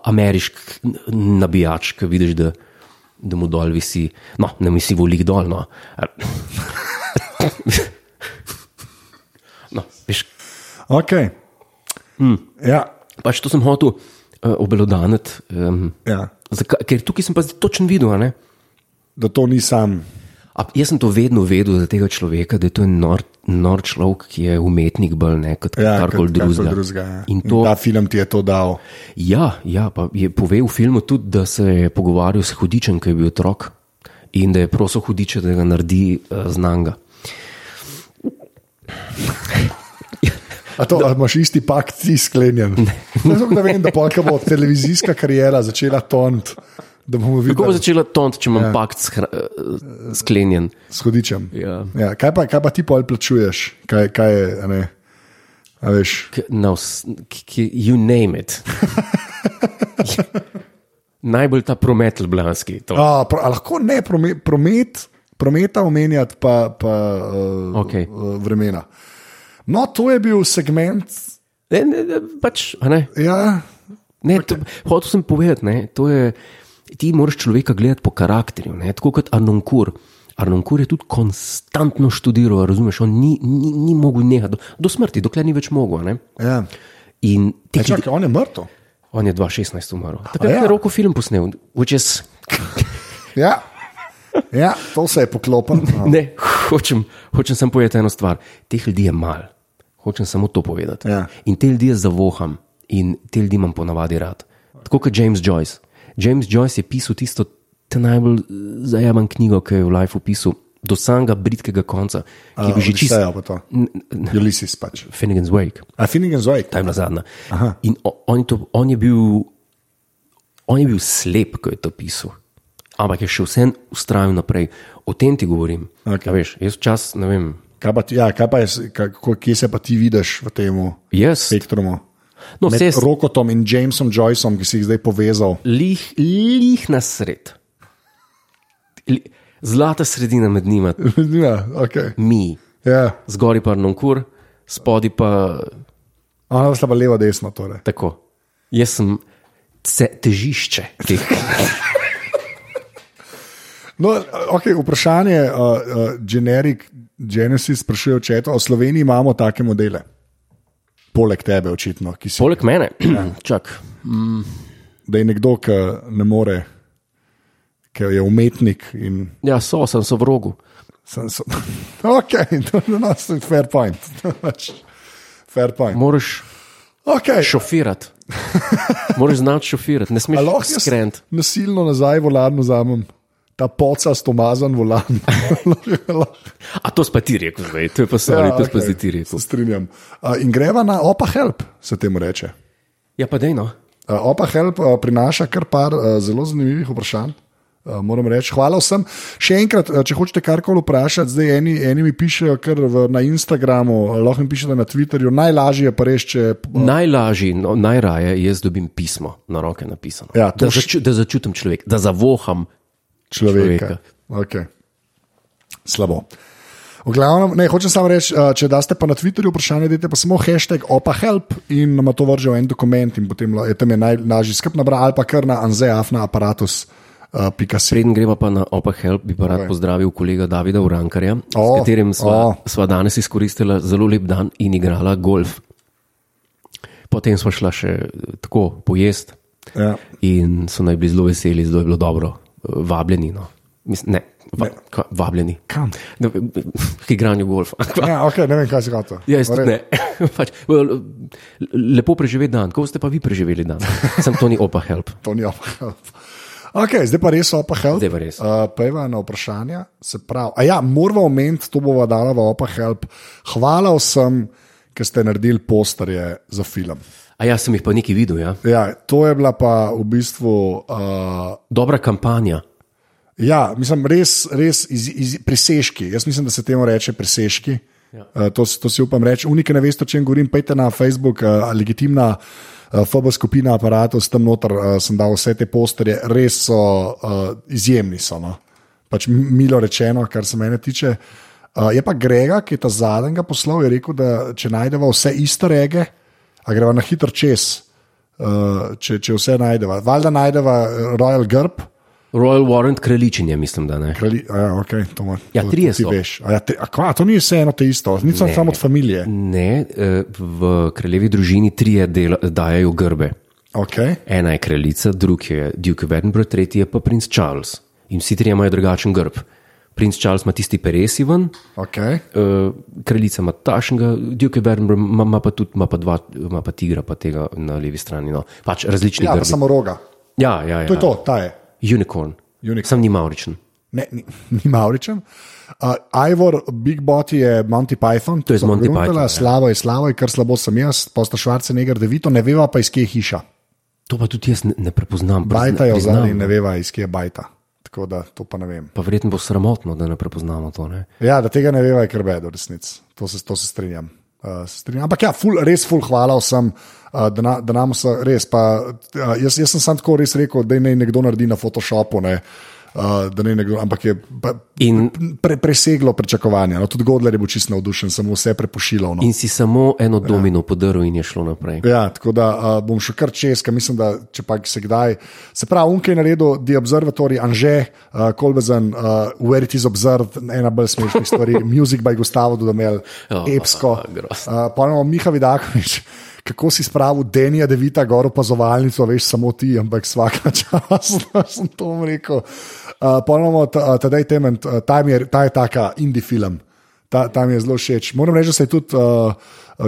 [SPEAKER 1] ameriški nabijač, ki vidiš, da, da mu dol visi, no, ne misli volik dol. No. no, veš,
[SPEAKER 2] Okay. Mm. Ja,
[SPEAKER 1] Pač to sem hotel uh, obelodaniti. Um,
[SPEAKER 2] ja.
[SPEAKER 1] zakaj, ker tukaj sem pa zdaj točen videl. a ne.
[SPEAKER 2] Da to ni sam. ja,
[SPEAKER 1] A, jaz sem to vedno vedel za tega človeka, da je to en nor, nor človek, ki je umetnik bolj ne kot
[SPEAKER 2] Ja,
[SPEAKER 1] ja, karkoli
[SPEAKER 2] kot- karkoli
[SPEAKER 1] drugega.
[SPEAKER 2] drugega ja.
[SPEAKER 1] In to,
[SPEAKER 2] ta film ti je to dal.
[SPEAKER 1] ja, ja, pa je pove v filmu tudi, da se je pogovarjal s hudičem, ki je bil otrok in da je prosil hudiče, da ga naredi uh, znanga.
[SPEAKER 2] A to, a imaš isti pakt, ti sklenjen. Zato, da vem, da polka bo televizijska karijera začela tont, da bomo
[SPEAKER 1] Kako bo
[SPEAKER 2] videli
[SPEAKER 1] začela tont, če imam ja. pakt shra, uh, sklenjen?
[SPEAKER 2] s hodičem.
[SPEAKER 1] Ja.
[SPEAKER 2] Ja, kaj, pa, kaj pa ti pol plačuješ? Kaj, kaj je, a ne? A veš,
[SPEAKER 1] K- na vs- k- k- You name it. Najbolj ta promet ljubljanski. to.
[SPEAKER 2] a, pro, a lahko ne promet, promet prometa omenjati, pa, pa uh,
[SPEAKER 1] Okej.
[SPEAKER 2] uh, vremena. No, to je bil segment.
[SPEAKER 1] Ne, ne, ne, pač, a ne,
[SPEAKER 2] Ja,
[SPEAKER 1] ne, to, hotel sem povedati, ne, to je, ti moraš človeka gledati po karakterju, ne, tako kot Arnonkur. Arnonkur je tudi konstantno študiral, razumeš, on ni, ni, ni mogel nehati do, do smrti, dokler ni več mogel. a Ne.
[SPEAKER 2] ja.
[SPEAKER 1] In ti,
[SPEAKER 2] E,
[SPEAKER 1] ki,
[SPEAKER 2] čakaj, on je mrtev.
[SPEAKER 1] on je 2016 umrl. Takrat
[SPEAKER 2] ja.
[SPEAKER 1] je roko film posnel, which is
[SPEAKER 2] Ja. ja, to se je poklopil. No.
[SPEAKER 1] Ne, hočem, hočem samo povedati eno stvar. Teh ljudi je malo, hočem samo to povedati.
[SPEAKER 2] Ja.
[SPEAKER 1] In te ljudi jaz zavoham in te ljudi imam ponavadi rad. Tako kot James Joyce. James Joyce je pisal tisto tista najbolj zajemna knjiga, ki je v Life opisal, do samega britkega konca, ki bi že čisto.
[SPEAKER 2] Vsejo ja, pa to. Ulysses pač.
[SPEAKER 1] Finnegan's Wake,
[SPEAKER 2] A Finnegan Zoid.
[SPEAKER 1] ta je bila zadnja.
[SPEAKER 2] Aha.
[SPEAKER 1] In o- on je, to, on, je bil, on je bil slep, ko je to pisal. Ampak je še vsem ustrajal naprej. O tem ti govorim.
[SPEAKER 2] Okej.
[SPEAKER 1] A Veš, jaz čas, ne vem.
[SPEAKER 2] Kaj pa, ti- ja, kaj pa je, s- kako, kje se pa ti vidiš v tem
[SPEAKER 1] Jaz,
[SPEAKER 2] spektrumu?
[SPEAKER 1] no,
[SPEAKER 2] Med
[SPEAKER 1] vse je
[SPEAKER 2] Rokotom in Jamesom Joyceom, ki si jih zdaj povezal.
[SPEAKER 1] lih, lih na sred. Li- Zlata sredina med njima,
[SPEAKER 2] ja, okay.
[SPEAKER 1] mi,
[SPEAKER 2] ja.
[SPEAKER 1] zgori pa nonkur, spodi pa
[SPEAKER 2] Ona sta pa levo, desno. Torej.
[SPEAKER 1] tako. Jaz sem ce, težišče teh.
[SPEAKER 2] No, okay, vprašanje, uh, uh, generik Genesis sprašuje očeta, o Sloveniji imamo take modele. Poleg tebe, očitno, ki si.
[SPEAKER 1] Poleg mene,
[SPEAKER 2] Ja.
[SPEAKER 1] čak,
[SPEAKER 2] Da je nekdo, ki ne more, ki je umetnik in
[SPEAKER 1] ja, so, sem so v rogu.
[SPEAKER 2] Sem so... Ok, to je no, no, fair point. Pač, fair point.
[SPEAKER 1] Moraš
[SPEAKER 2] Okay.
[SPEAKER 1] šofirati, moraš znati šofirati, ne smeš
[SPEAKER 2] A lahko jaz
[SPEAKER 1] skrent.
[SPEAKER 2] Nasilno nazaj volan vzamem, ta poca stomazan volan.
[SPEAKER 1] A to si pa ti rekel, zdaj, to je pa stvar, ja, to si pa zdaj ti rekel.
[SPEAKER 2] Se strinjam. Uh, in greva na opa help, se temu reče.
[SPEAKER 1] Ja, pa dejno.
[SPEAKER 2] Uh, opa help uh, prinaša kar par uh, zelo zanimivih vprašanj. Uh, moram reči, hvala vsem. Še enkrat, uh, če hočete karkoli vprašati, zdaj eni, eni mi pišejo kar v, na Instagramu, eh, lahko mi pišete na Twitterju, najlažje je pa res, če
[SPEAKER 1] Najlažje, no, najraje jaz dobim pismo na roke napisano.
[SPEAKER 2] Ja, to
[SPEAKER 1] da,
[SPEAKER 2] š-
[SPEAKER 1] začu, da začutim človek, da zavoham.
[SPEAKER 2] človeka. Okay. Slabo. V glavnem, ne, hočem samo reči, eh, če daste pa na Twitterju vprašanje, dajte pa samo hashtag opahelp in nam to vrže v en dokument in potem la- je tam je najlažji skrb nabrati ali pa kar na anzeafna aparatus. Uh, pika si.
[SPEAKER 1] Preden greva pa na Opa Help, bi pa rad okay. pozdravil kolega Davida Urankarja,
[SPEAKER 2] O,
[SPEAKER 1] s katerim sva,
[SPEAKER 2] o.
[SPEAKER 1] sva danes izkoristila zelo lep dan in igrala golf. Potem sva šla še eh, tako pojest
[SPEAKER 2] Ja.
[SPEAKER 1] in so naj bili zelo veseli, zelo je bilo dobro, Eh, vabljeni. No. Mislim, ne, va,
[SPEAKER 2] Ne.
[SPEAKER 1] Ka, vabljeni.
[SPEAKER 2] Kam?
[SPEAKER 1] Ne, K igranju golfa.
[SPEAKER 2] Ja, okay, ne vem, kaj si hotel.
[SPEAKER 1] Ja, jaz
[SPEAKER 2] V
[SPEAKER 1] tudi
[SPEAKER 2] redu.
[SPEAKER 1] ne. pač, well, lepo preživeti dan, kako ste pa vi preživeli dan? Sem to ni opa help.
[SPEAKER 2] To ni opahelp. Okay, zdaj pa res opahelp.
[SPEAKER 1] Zdaj pa res.
[SPEAKER 2] Uh, Pejva na vprašanja, se pravi. A ja, moramo omeniti, to bova dala v opahelp. Hvala vsem, ker ste naredili posterje za film.
[SPEAKER 1] A jaz sem jih pa nekaj videl, ja.
[SPEAKER 2] Ja, to je bila pa v bistvu. Uh,
[SPEAKER 1] Dobra kampanja.
[SPEAKER 2] ja, mislim, res, res iz, iz, presežki. Jaz mislim, da se temu reče presežki. Ja. Uh, to, si- to si upam reči. Unike ne veste, o čem govorim. Pejte na Facebook, uh, legitimna uh, FB skupina aparatus, tam noter uh, sem dal vse te posterje, res so uh, izjemni. So, no. pač m- milo rečeno, kar se mene tiče. Uh, je pa Grega, ki je ta zadnjega poslal, je rekel, da če najdemo vse iste rege, a gremo na hitro čez, uh, če, če vse najdemo. Valjda najdemo Royal Grb.
[SPEAKER 1] Royal Warrant kraljičenje, mislim, da ne.
[SPEAKER 2] Kralji, a ja, okay, to ma,
[SPEAKER 1] Ja,
[SPEAKER 2] to,
[SPEAKER 1] trije
[SPEAKER 2] to ti
[SPEAKER 1] so.
[SPEAKER 2] veš. A ja, tri, a, kva, to ni vseeno te isto, ni samo samo od familije.
[SPEAKER 1] Ne, eh, v kraljevi družini trije dela, dajajo grbe.
[SPEAKER 2] Okay.
[SPEAKER 1] Ena je kraljica, drugi je Duke of Edinburgh, tretji je pa princ Charles. In vsi trije imajo drugačen grb. Princ Charles ima tisti peresi ven,
[SPEAKER 2] Okay.
[SPEAKER 1] eh, kraljica ima tašnega, Duke of Edinburgh ima, ima pa tudi ima pa dva, ima pa tigra, pa tega na levi strani. No. Pač različni
[SPEAKER 2] Ja,
[SPEAKER 1] grbi.
[SPEAKER 2] pa samo roga.
[SPEAKER 1] Ja, ja, ja.
[SPEAKER 2] To je to, ta je.
[SPEAKER 1] Unicorn.
[SPEAKER 2] Unicorn.
[SPEAKER 1] Sam ni mauričen.
[SPEAKER 2] Ne, ni, ni Mauričen. Uh, Ivor, Big Bot je Monty Python,
[SPEAKER 1] To je iz
[SPEAKER 2] so ga
[SPEAKER 1] Monty
[SPEAKER 2] gruntala,
[SPEAKER 1] Pythona, ja.
[SPEAKER 2] Slavo je slavo, je kar slabo sem jaz, posta Švarcenegar, Devito, ne veva pa iz kje je hiša.
[SPEAKER 1] To pa tudi jaz ne, ne prepoznam. prizna-
[SPEAKER 2] Bajta je v
[SPEAKER 1] priznam.
[SPEAKER 2] zadnji, ne veva iz kje je bajta. Tako da to pa ne vem.
[SPEAKER 1] Pa verjetno bo sramotno, da ne prepoznamo to. Ne?
[SPEAKER 2] Ja, da tega ne veva, je krbe, do resnic. To se, to se strinjam. Uh, se strinjam. Ampak ja, ful, res ful, hvala vsem, uh, da, na, da nam se res. Pa, uh, jaz, jaz sem sam tako res rekel, da naj nekdo naredi na Photoshopu. Ne, uh, da naj nekdo, ampak je pa,
[SPEAKER 1] In,
[SPEAKER 2] pre, preseglo pričakovanja. No, tudi Godler je bil čisto navdušen, samo vse prepošilal. No.
[SPEAKER 1] in si samo eno domino podaril in je šlo naprej.
[SPEAKER 2] Ja, tako da uh, bom še kar čez, ker mislim, da če pa se kdaj. Se pravi, unke je naredil The Observatory, Anže, uh, Kolbezen, uh, Where it is observed, ena bolj smešnih stvari, Music by Gustavo Dudamel,
[SPEAKER 1] Ja,
[SPEAKER 2] oh, epsko.
[SPEAKER 1] grozno.
[SPEAKER 2] Uh, pa imamo Miha Vidakovič, kako si spravil Denija Devita, gor opazovalnico, veš samo ti, ampak vsak čas, da sem to bom rekel. Uh, pa imamo tedaj temen, tam je, ta je taka indie film. Ta, tam je eh, zelo všeč. Moram reči, da se je tudi uh,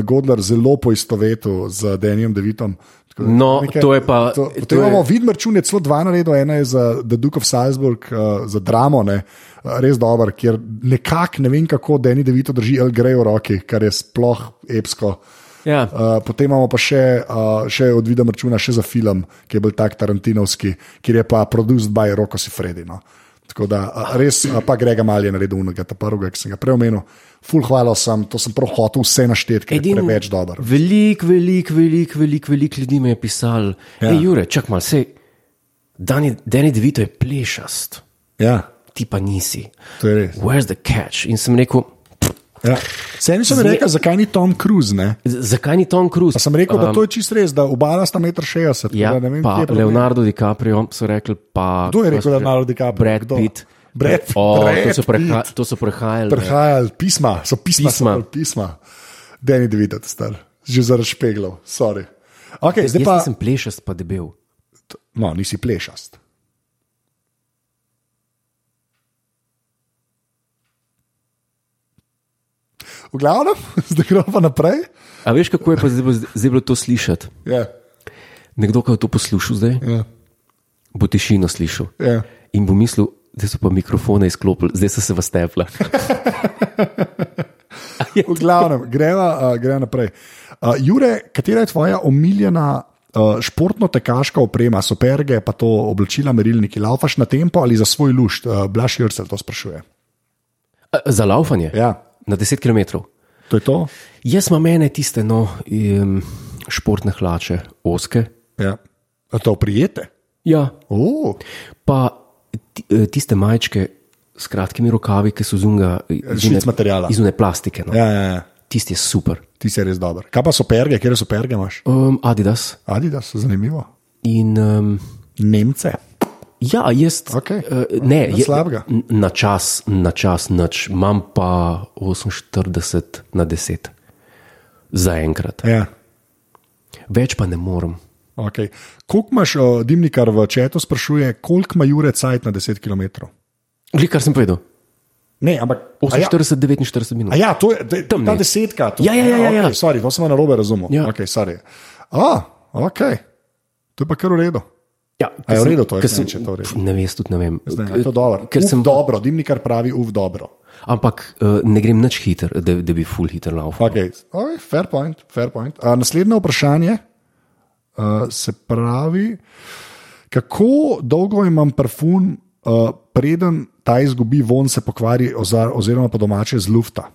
[SPEAKER 2] Godler zelo poistovetil z Denijem Devitom. tako Tako da
[SPEAKER 1] No,
[SPEAKER 2] nekaj-
[SPEAKER 1] to je pa-
[SPEAKER 2] To,
[SPEAKER 1] to
[SPEAKER 2] potem
[SPEAKER 1] je-
[SPEAKER 2] imamo Vidmar Čun, je celo dva naredil, ena je za The Duke of Salzburg, uh, za dramo, ne, uh, res dober, kjer nekako ne vem kako, da eni devito drži El Grey v roki, kar je sploh epsko.
[SPEAKER 1] Ja.
[SPEAKER 2] Uh, potem imamo pa še, uh, še od Vida Mrčuna, še za film, ki je bolj tak Tarantinovski, kjer je pa produced by Roko Sifredi. No. Tako da uh, res, uh, pa Grega Mal je naredil unega, ta prvega, ki sem ga prej omenil. Ful, hvala sem, to sem prav hotel vse našteti, ker je
[SPEAKER 1] Edino-
[SPEAKER 2] preveč dober.
[SPEAKER 1] Veliko, veliko, veliko velik, velik ljudi mi je pisalo, da ja.
[SPEAKER 2] Ja.
[SPEAKER 1] je Jure, čak mal, sej, Dani, Dani Devito je plešast,
[SPEAKER 2] Ja,
[SPEAKER 1] ti pa nisi.
[SPEAKER 2] to je res.
[SPEAKER 1] Where's the catch? In sem rekel,
[SPEAKER 2] Ja. Sem jim
[SPEAKER 1] Zme-
[SPEAKER 2] rekel, zakaj ni Tom Cruise, ne?
[SPEAKER 1] "Z- zakaj ni Tom Cruise?
[SPEAKER 2] Pa sem rekel, da to je čist res, da obala sta 1,60
[SPEAKER 1] Um,
[SPEAKER 2] m.
[SPEAKER 1] Ja,
[SPEAKER 2] ne vem,
[SPEAKER 1] pa
[SPEAKER 2] kje je problem.
[SPEAKER 1] Leonardo DiCaprio so rekli, pa.
[SPEAKER 2] Kdo je
[SPEAKER 1] pa
[SPEAKER 2] rekel,
[SPEAKER 1] so rekli,
[SPEAKER 2] da Leonardo DiCaprio?
[SPEAKER 1] Brad
[SPEAKER 2] Kdo?
[SPEAKER 1] Pitt.
[SPEAKER 2] Brad-
[SPEAKER 1] o,
[SPEAKER 2] Brad
[SPEAKER 1] to, so preha,
[SPEAKER 2] Pitt.
[SPEAKER 1] to so prehajali.
[SPEAKER 2] prihajali pisma, so pisma,
[SPEAKER 1] Pisma.
[SPEAKER 2] pisma. So pisma. da ni videti, star, že zaradi špeglov, sorry. Okay, zdaj
[SPEAKER 1] Jaz
[SPEAKER 2] pa,
[SPEAKER 1] pa... sem plešast, pa debel.
[SPEAKER 2] no, nisi plešast. V glavnem, zdaj gremo pa naprej.
[SPEAKER 1] A veš, kako je pa zdaj, bilo- zdaj bilo to slišati?
[SPEAKER 2] Ja,
[SPEAKER 1] Nekdo, ki je to poslušal zdaj,
[SPEAKER 2] ja,
[SPEAKER 1] bo tišino slišal
[SPEAKER 2] ja.
[SPEAKER 1] in bo mislil, da so pa mikrofone izklopili, zdaj so se vas tepla.
[SPEAKER 2] V glavnem, greva, uh, greva naprej. Uh, Jure, katera je tvoja omiljena uh, športno-tekaška oprema, superge, pa to oblačila, merilniki, laufaš na tempo ali za svoj lušt? Uh, Blaž Jrcel to sprašuje.
[SPEAKER 1] Za laufanje
[SPEAKER 2] Ja,
[SPEAKER 1] na 10 km.
[SPEAKER 2] to je to.
[SPEAKER 1] Jaz imam mene tiste no, em, športne hlače, oske.
[SPEAKER 2] Ja. A to prijete?
[SPEAKER 1] Ja,
[SPEAKER 2] Uh,
[SPEAKER 1] pa ti- eh, tiste majčke s kratkimi rokavi, ki so zunga, eh,
[SPEAKER 2] Švic materiala.
[SPEAKER 1] Izune plastike. No. Ja.
[SPEAKER 2] ja, ja, ja.
[SPEAKER 1] Tisti je super.
[SPEAKER 2] Ti si res dober. Kaj pa superge, kje superge imaš?
[SPEAKER 1] Um, Adidas.
[SPEAKER 2] Adi, da so zanimivo.
[SPEAKER 1] In, um,
[SPEAKER 2] Nemce.
[SPEAKER 1] ja, jaz.
[SPEAKER 2] Okej.
[SPEAKER 1] eh, ne,
[SPEAKER 2] Nič
[SPEAKER 1] je-
[SPEAKER 2] slabega.
[SPEAKER 1] n- Na čas, na čas, noč. Imam pa 48 na 10. Za enkrat.
[SPEAKER 2] Ja.
[SPEAKER 1] Več pa ne morem.
[SPEAKER 2] Okay. Koliko imaš, uh, dimnikar v četu sprašuje, koliko ima Jure cajt na 10 km?
[SPEAKER 1] Glej, kar sem povedal.
[SPEAKER 2] Ne, ampak a ja.
[SPEAKER 1] 48, 49 minut.
[SPEAKER 2] A ja, to je de,
[SPEAKER 1] Tam
[SPEAKER 2] ta
[SPEAKER 1] ne.
[SPEAKER 2] desetka. To,
[SPEAKER 1] Ja, ja, ja, ja, ja.
[SPEAKER 2] Okay, sorry, to sem na robe razumel.
[SPEAKER 1] Ja.
[SPEAKER 2] Ja. Okay, sorry. A, ok, to je pa kar v redu.
[SPEAKER 1] Ja,
[SPEAKER 2] A je v
[SPEAKER 1] sem-
[SPEAKER 2] redu to, jaz
[SPEAKER 1] ker
[SPEAKER 2] ne
[SPEAKER 1] sem-
[SPEAKER 2] vem, če je to v redu.
[SPEAKER 1] Pf, Ne veš, tudi ne vem.
[SPEAKER 2] Zdaj, je to dobro.
[SPEAKER 1] Ker
[SPEAKER 2] uf,
[SPEAKER 1] sem,
[SPEAKER 2] dobro, dimnikar pravi, uf, dobro.
[SPEAKER 1] ampak eh, ne grem nič hiter, da, da bi full hiter laufal.
[SPEAKER 2] Okay. Okay, fair point. Fair point. A, naslednje vprašanje uh, se pravi, kako dolgo imam parfum, uh, preden ta izgubi von, se pokvari, oza- oziroma po domače z lufta.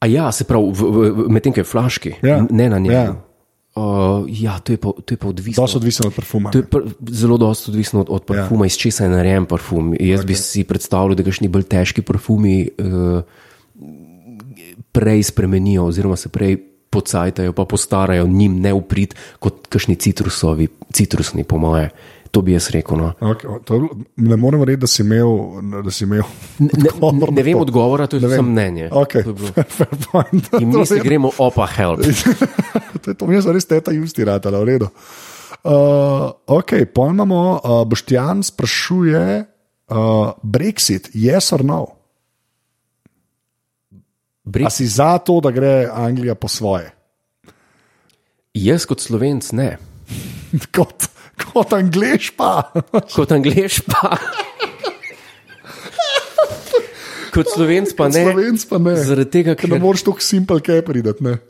[SPEAKER 1] A ja, se pravi, v- v- v- medtem ko je flaški,
[SPEAKER 2] Ja.
[SPEAKER 1] n- ne na njej. Ja.
[SPEAKER 2] Ja.
[SPEAKER 1] Uh, ja, to je pa, to je pa odvisno.
[SPEAKER 2] Dost odvisno ja. od parfuma.
[SPEAKER 1] To je pr, zelo dosto odvisno od, od parfuma, ja. iz česa je narejen parfum. Jaz okay. bi si predstavljal, da kakšni bolj težki parfumi uh, prej spremenijo, oziroma se prej pocajtajo, pa postarajo njim neuprit kot kakšni citrusovi, citrusni, po moje. To bi jaz rekel. No.
[SPEAKER 2] Okay, o, to, je bilo- ne morem reči, da si imel. Da si imel
[SPEAKER 1] Ne, ne,
[SPEAKER 2] odgovor na
[SPEAKER 1] ne vem
[SPEAKER 2] to.
[SPEAKER 1] odgovora, to je samo mnenje.
[SPEAKER 2] Okay.
[SPEAKER 1] To je bilo-
[SPEAKER 2] Fair point.
[SPEAKER 1] In
[SPEAKER 2] To
[SPEAKER 1] mi se
[SPEAKER 2] je-
[SPEAKER 1] gremo, opa, help.
[SPEAKER 2] to je to, mi je res teta justi ratala, v redu. Uh, ok, pojmamo, uh, Boštjan sprašuje, uh, Brexit, yes or no? A
[SPEAKER 1] Brexit.
[SPEAKER 2] si za to, da gre Anglija po svoje?
[SPEAKER 1] Jaz kot slovenc ne.
[SPEAKER 2] kot, kot Anglež pa.
[SPEAKER 1] Kot angliš pa. Kot slovenc pa ne.
[SPEAKER 2] Slovenc pa ne.
[SPEAKER 1] Zaradi tega,
[SPEAKER 2] Ker ne
[SPEAKER 1] ker
[SPEAKER 2] moreš tako simpel kaj prideti. ne.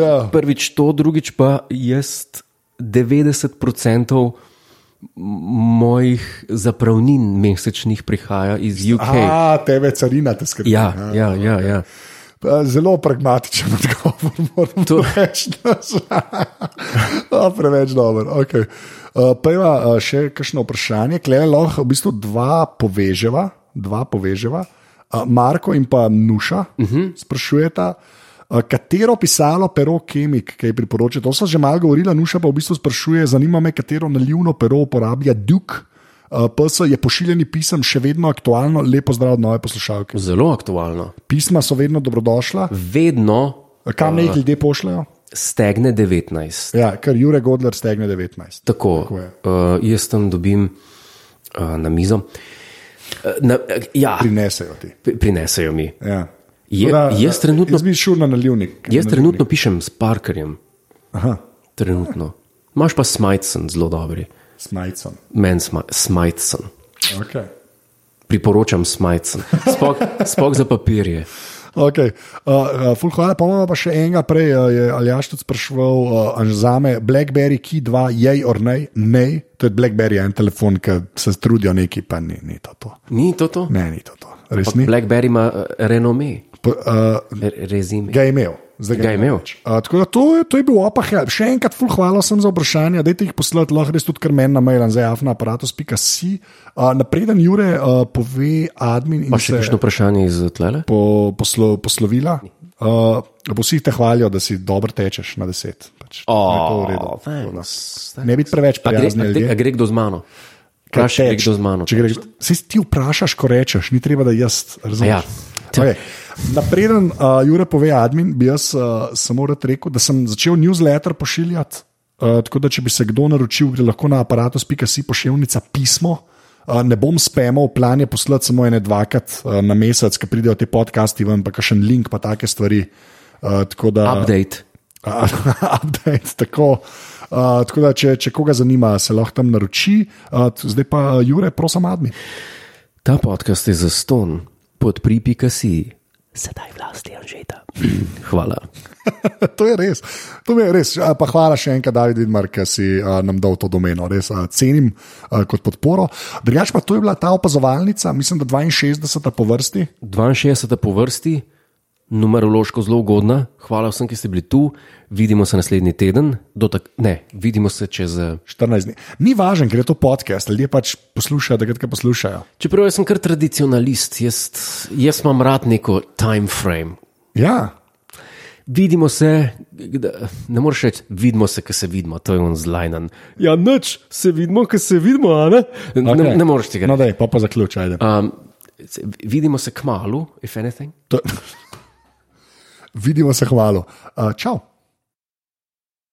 [SPEAKER 2] Ja.
[SPEAKER 1] prvič to, drugič pa jaz 90% mojih zapravnin mesečnih prihaja iz UK.
[SPEAKER 2] A, tebe carina te skrbi.
[SPEAKER 1] Ja, ja, ja. ja.
[SPEAKER 2] Zelo pragmatičen odgovor, moram to reči. A, preveč dober. Okay. Uh, pa ima uh, še kakšno vprašanje, klej lahko v bistvu dva poveževa. Dva poveževa. Uh, Marko in pa Nuša uh -huh. sprašujeta, uh, katero pisalo pero Kemik, ki priporoča. To smo že malo govorili, Nuša pa v bistvu sprašuje, zanima me, katero nalivno pero uporablja Duke. Uh, PS je pošiljeni pisem še vedno aktualno, lepo zdrav od nove poslušalke.
[SPEAKER 1] Zelo aktualno.
[SPEAKER 2] Pisma so vedno dobrodošla,
[SPEAKER 1] Vedno
[SPEAKER 2] Kam naj jih
[SPEAKER 1] Eh.
[SPEAKER 2] ljudje pošljajo?
[SPEAKER 1] stegne 19.
[SPEAKER 2] Ja, ker Jurek Godler stegne 19.
[SPEAKER 1] Tako, Tako
[SPEAKER 2] je.
[SPEAKER 1] uh, jaz tam dobim uh, na mizo. Uh, na, uh, ja,
[SPEAKER 2] Prinesejo ti.
[SPEAKER 1] pri- prinesejo mi.
[SPEAKER 2] Ja.
[SPEAKER 1] Je,
[SPEAKER 2] Tako
[SPEAKER 1] jaz trenutno,
[SPEAKER 2] Jaz bi šel na nalivnik.
[SPEAKER 1] jaz
[SPEAKER 2] Na
[SPEAKER 1] trenutno pišem s Parkerjem,
[SPEAKER 2] nalivnik. Aha,
[SPEAKER 1] trenutno. Imáš pa Smajcen zelo dobri,
[SPEAKER 2] s majcem.
[SPEAKER 1] meni sma- Smajcen.
[SPEAKER 2] Okay.
[SPEAKER 1] Priporočam Smajcen, spok, spok za papirje.
[SPEAKER 2] Okay. Uh, uh, ful hvala, pa imamo pa še enega, prej uh, je Aljaš tudi spraševal, uh, za me Blackberry Key 2, jej or nej, nej, to je Blackberry en telefon, ki se trudijo neki, pa ni, ni to to.
[SPEAKER 1] Ni to to?
[SPEAKER 2] Ne, ni to to, res ni.
[SPEAKER 1] Blackberry ima eh, renome,
[SPEAKER 2] Po, uh,
[SPEAKER 1] re- rezime.
[SPEAKER 2] ga je imel. Zdaj
[SPEAKER 1] Ga je imel.
[SPEAKER 2] več. Uh, tako da to, je- to je bil opah. ja. Še enkrat, ful hvala sem za vprašanja, dajte jih poslati, lahko res tudi kar meni na mail, zdaj afna aparatus.si. Uh, napreden Jure uh, pove admin in
[SPEAKER 1] Pa še
[SPEAKER 2] se-
[SPEAKER 1] kakšno vprašanje iz tlele?
[SPEAKER 2] po, poslo, poslovila. Uh, vsi te hvalijo, da si dobro tečeš na deset. Pač, je to v redu. Tako da. Ne biti preveč
[SPEAKER 1] A gre,
[SPEAKER 2] prijazni
[SPEAKER 1] a, gre, a
[SPEAKER 2] ljudje.
[SPEAKER 1] gre kdo z mano?
[SPEAKER 2] Kaj
[SPEAKER 1] Vprašaj, gre
[SPEAKER 2] teč?
[SPEAKER 1] kdo z mano.
[SPEAKER 2] Če gre, se ti vprašaš, ko rečeš, ni treba, da jaz razumem.
[SPEAKER 1] Ja.
[SPEAKER 2] Okay. Napreden, uh, Jure pove, admin, bi jaz uh, samo rad rekel, da sem začel newsletter pošiljati. Uh, tako da, če bi se kdo naročil, gre lahko na aparatus.si pošiljnica pismo. Uh, ne bom spemal, plan je poslati samo ene dvakrat uh, na mesec, ki pridejo ti podcasti ven, pa še en link, pa take stvari. Uh, tako da,
[SPEAKER 1] Update.
[SPEAKER 2] Uh, update. Tako, uh, tako da, če, če koga zanima, se lahko tam naroči. Uh, t- zdaj pa uh, Jure, prosim, admin.
[SPEAKER 1] Ta podcast je za ston, podpripika si. Sedaj vlasti Anžeta. Hvala.
[SPEAKER 2] to je res. To mi je res. A, Pa hvala še enkrat, David Vidmar, ki si a, nam dal to domeno. Res a, cenim a, kot podporo. Drugač pa to je bila ta opazovalnica, mislim, da 62 po vrsti.
[SPEAKER 1] 62. po vrsti, numerološko zelo ugodna. Hvala vsem, ki ste bili tu. Vidimo se naslednji teden. Do Tak, ne, vidimo se čez. eh,
[SPEAKER 2] 14 dni. Ni važno, ker je to podcast, ljudje pač poslušajo, da ga poslušajo.
[SPEAKER 1] Čeprav jaz sem kar tradicionalist, jaz, jaz imam rad neko time frame.
[SPEAKER 2] Ja,
[SPEAKER 1] Vidimo se, kda- ne moreš reči, vidimo se, ki se vidimo, to je on zlajnan. Ja, noč se vidimo, ki se vidimo, a ne? Okay. Ne,
[SPEAKER 2] okej.
[SPEAKER 1] ne moreš tega.
[SPEAKER 2] No, daj, pa pa zaključaj. Uh.
[SPEAKER 1] Um, se- vidimo se k malu, if anything.
[SPEAKER 2] Vidimo se, hvalo. Uh, čau.